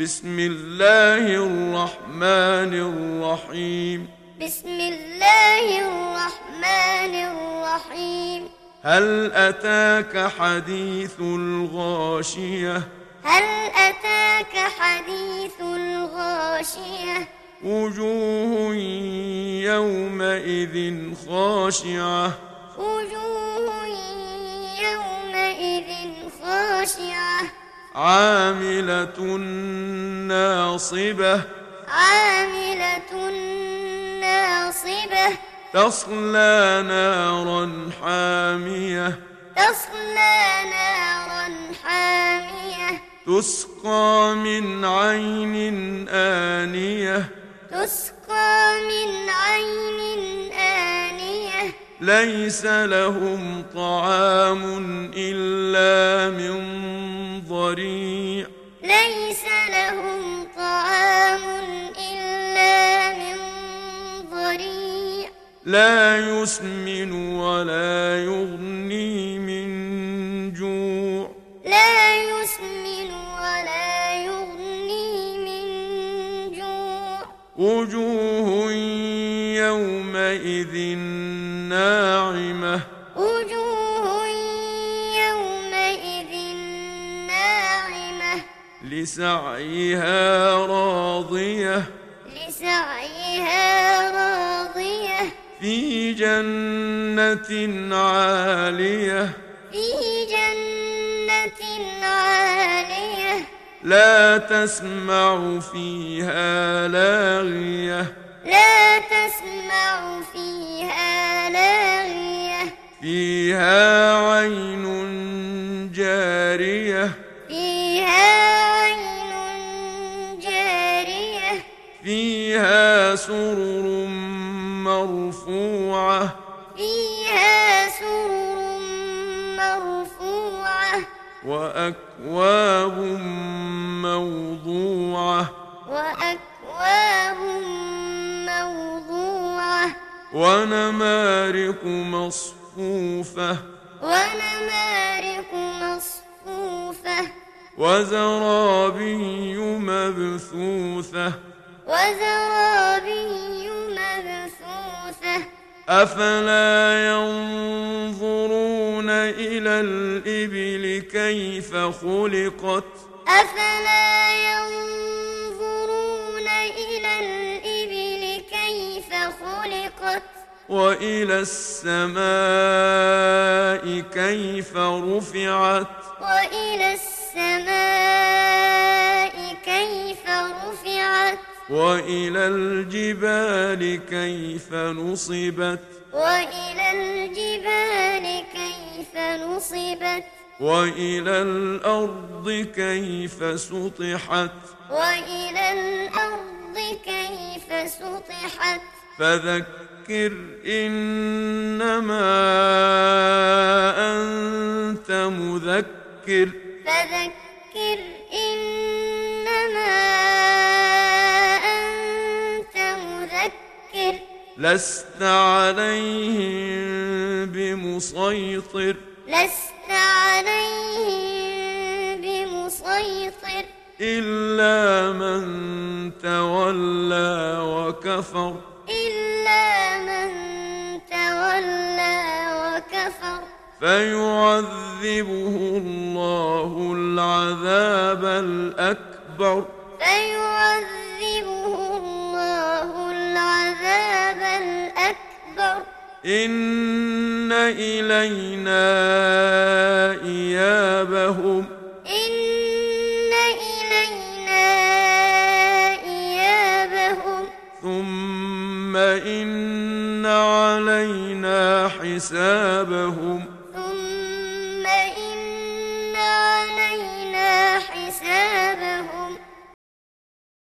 بسم الله الرحمن الرحيم بسم الله الرحمن الرحيم هل أتاك حديث الغاشية هل أتاك حديث الغاشية وجوه يومئذ خاشعة وجوه يومئذ خاشعة عاملة ناصبة عاملة ناصبة تصلى نارا حامية تصلى نارا حامية تسقى من عين آنية تسقى من عين آنية ليس لهم طعام إلا من ضريع ليس لهم طعام إلا من ضريع لا يسمن ولا يغني من جوع لا يسمن ولا يغني من جوع وجوه يومئذ ناعمة وجوه يومئذ ناعمة لسعيها راضية لسعيها راضية في جنة عالية في جنة عالية لا تسمع فيها لاغية لا تسمع فيها لاغية فيها عين جارية فيها عين جارية فيها سرر مرفوعة فيها سرر مرفوعة وأكواب موضوعة وأكواب موضوعة ونمارق مصفوفة ونمارق مصفوفة وزرابي مبثوثة وزرابي مبثوثة أفلا ينظرون إلى الإبل كيف خلقت أفلا ينظرون إلى الإبل كيف خلقت وإلى السماء كيف رفعت وإلى السماء كيف رفعت وإلى الجبال كيف نصبت وإلى الجبال كيف نصبت وإلى الأرض كيف سطحت وإلى الأرض كيف سطحت فذكر إنما أنت مذكر فذكر إنما أنت مذكر لست عليهم بمسيطر لست عليهم بمسيطر إلا من تولى وكفر إلا من تولى وكفر فيعذبه الله العذاب الأكبر فيعذبه الله العذاب الأكبر إن إلينا إيابهم إن إلينا إيابهم ثم إن علينا حسابهم ثم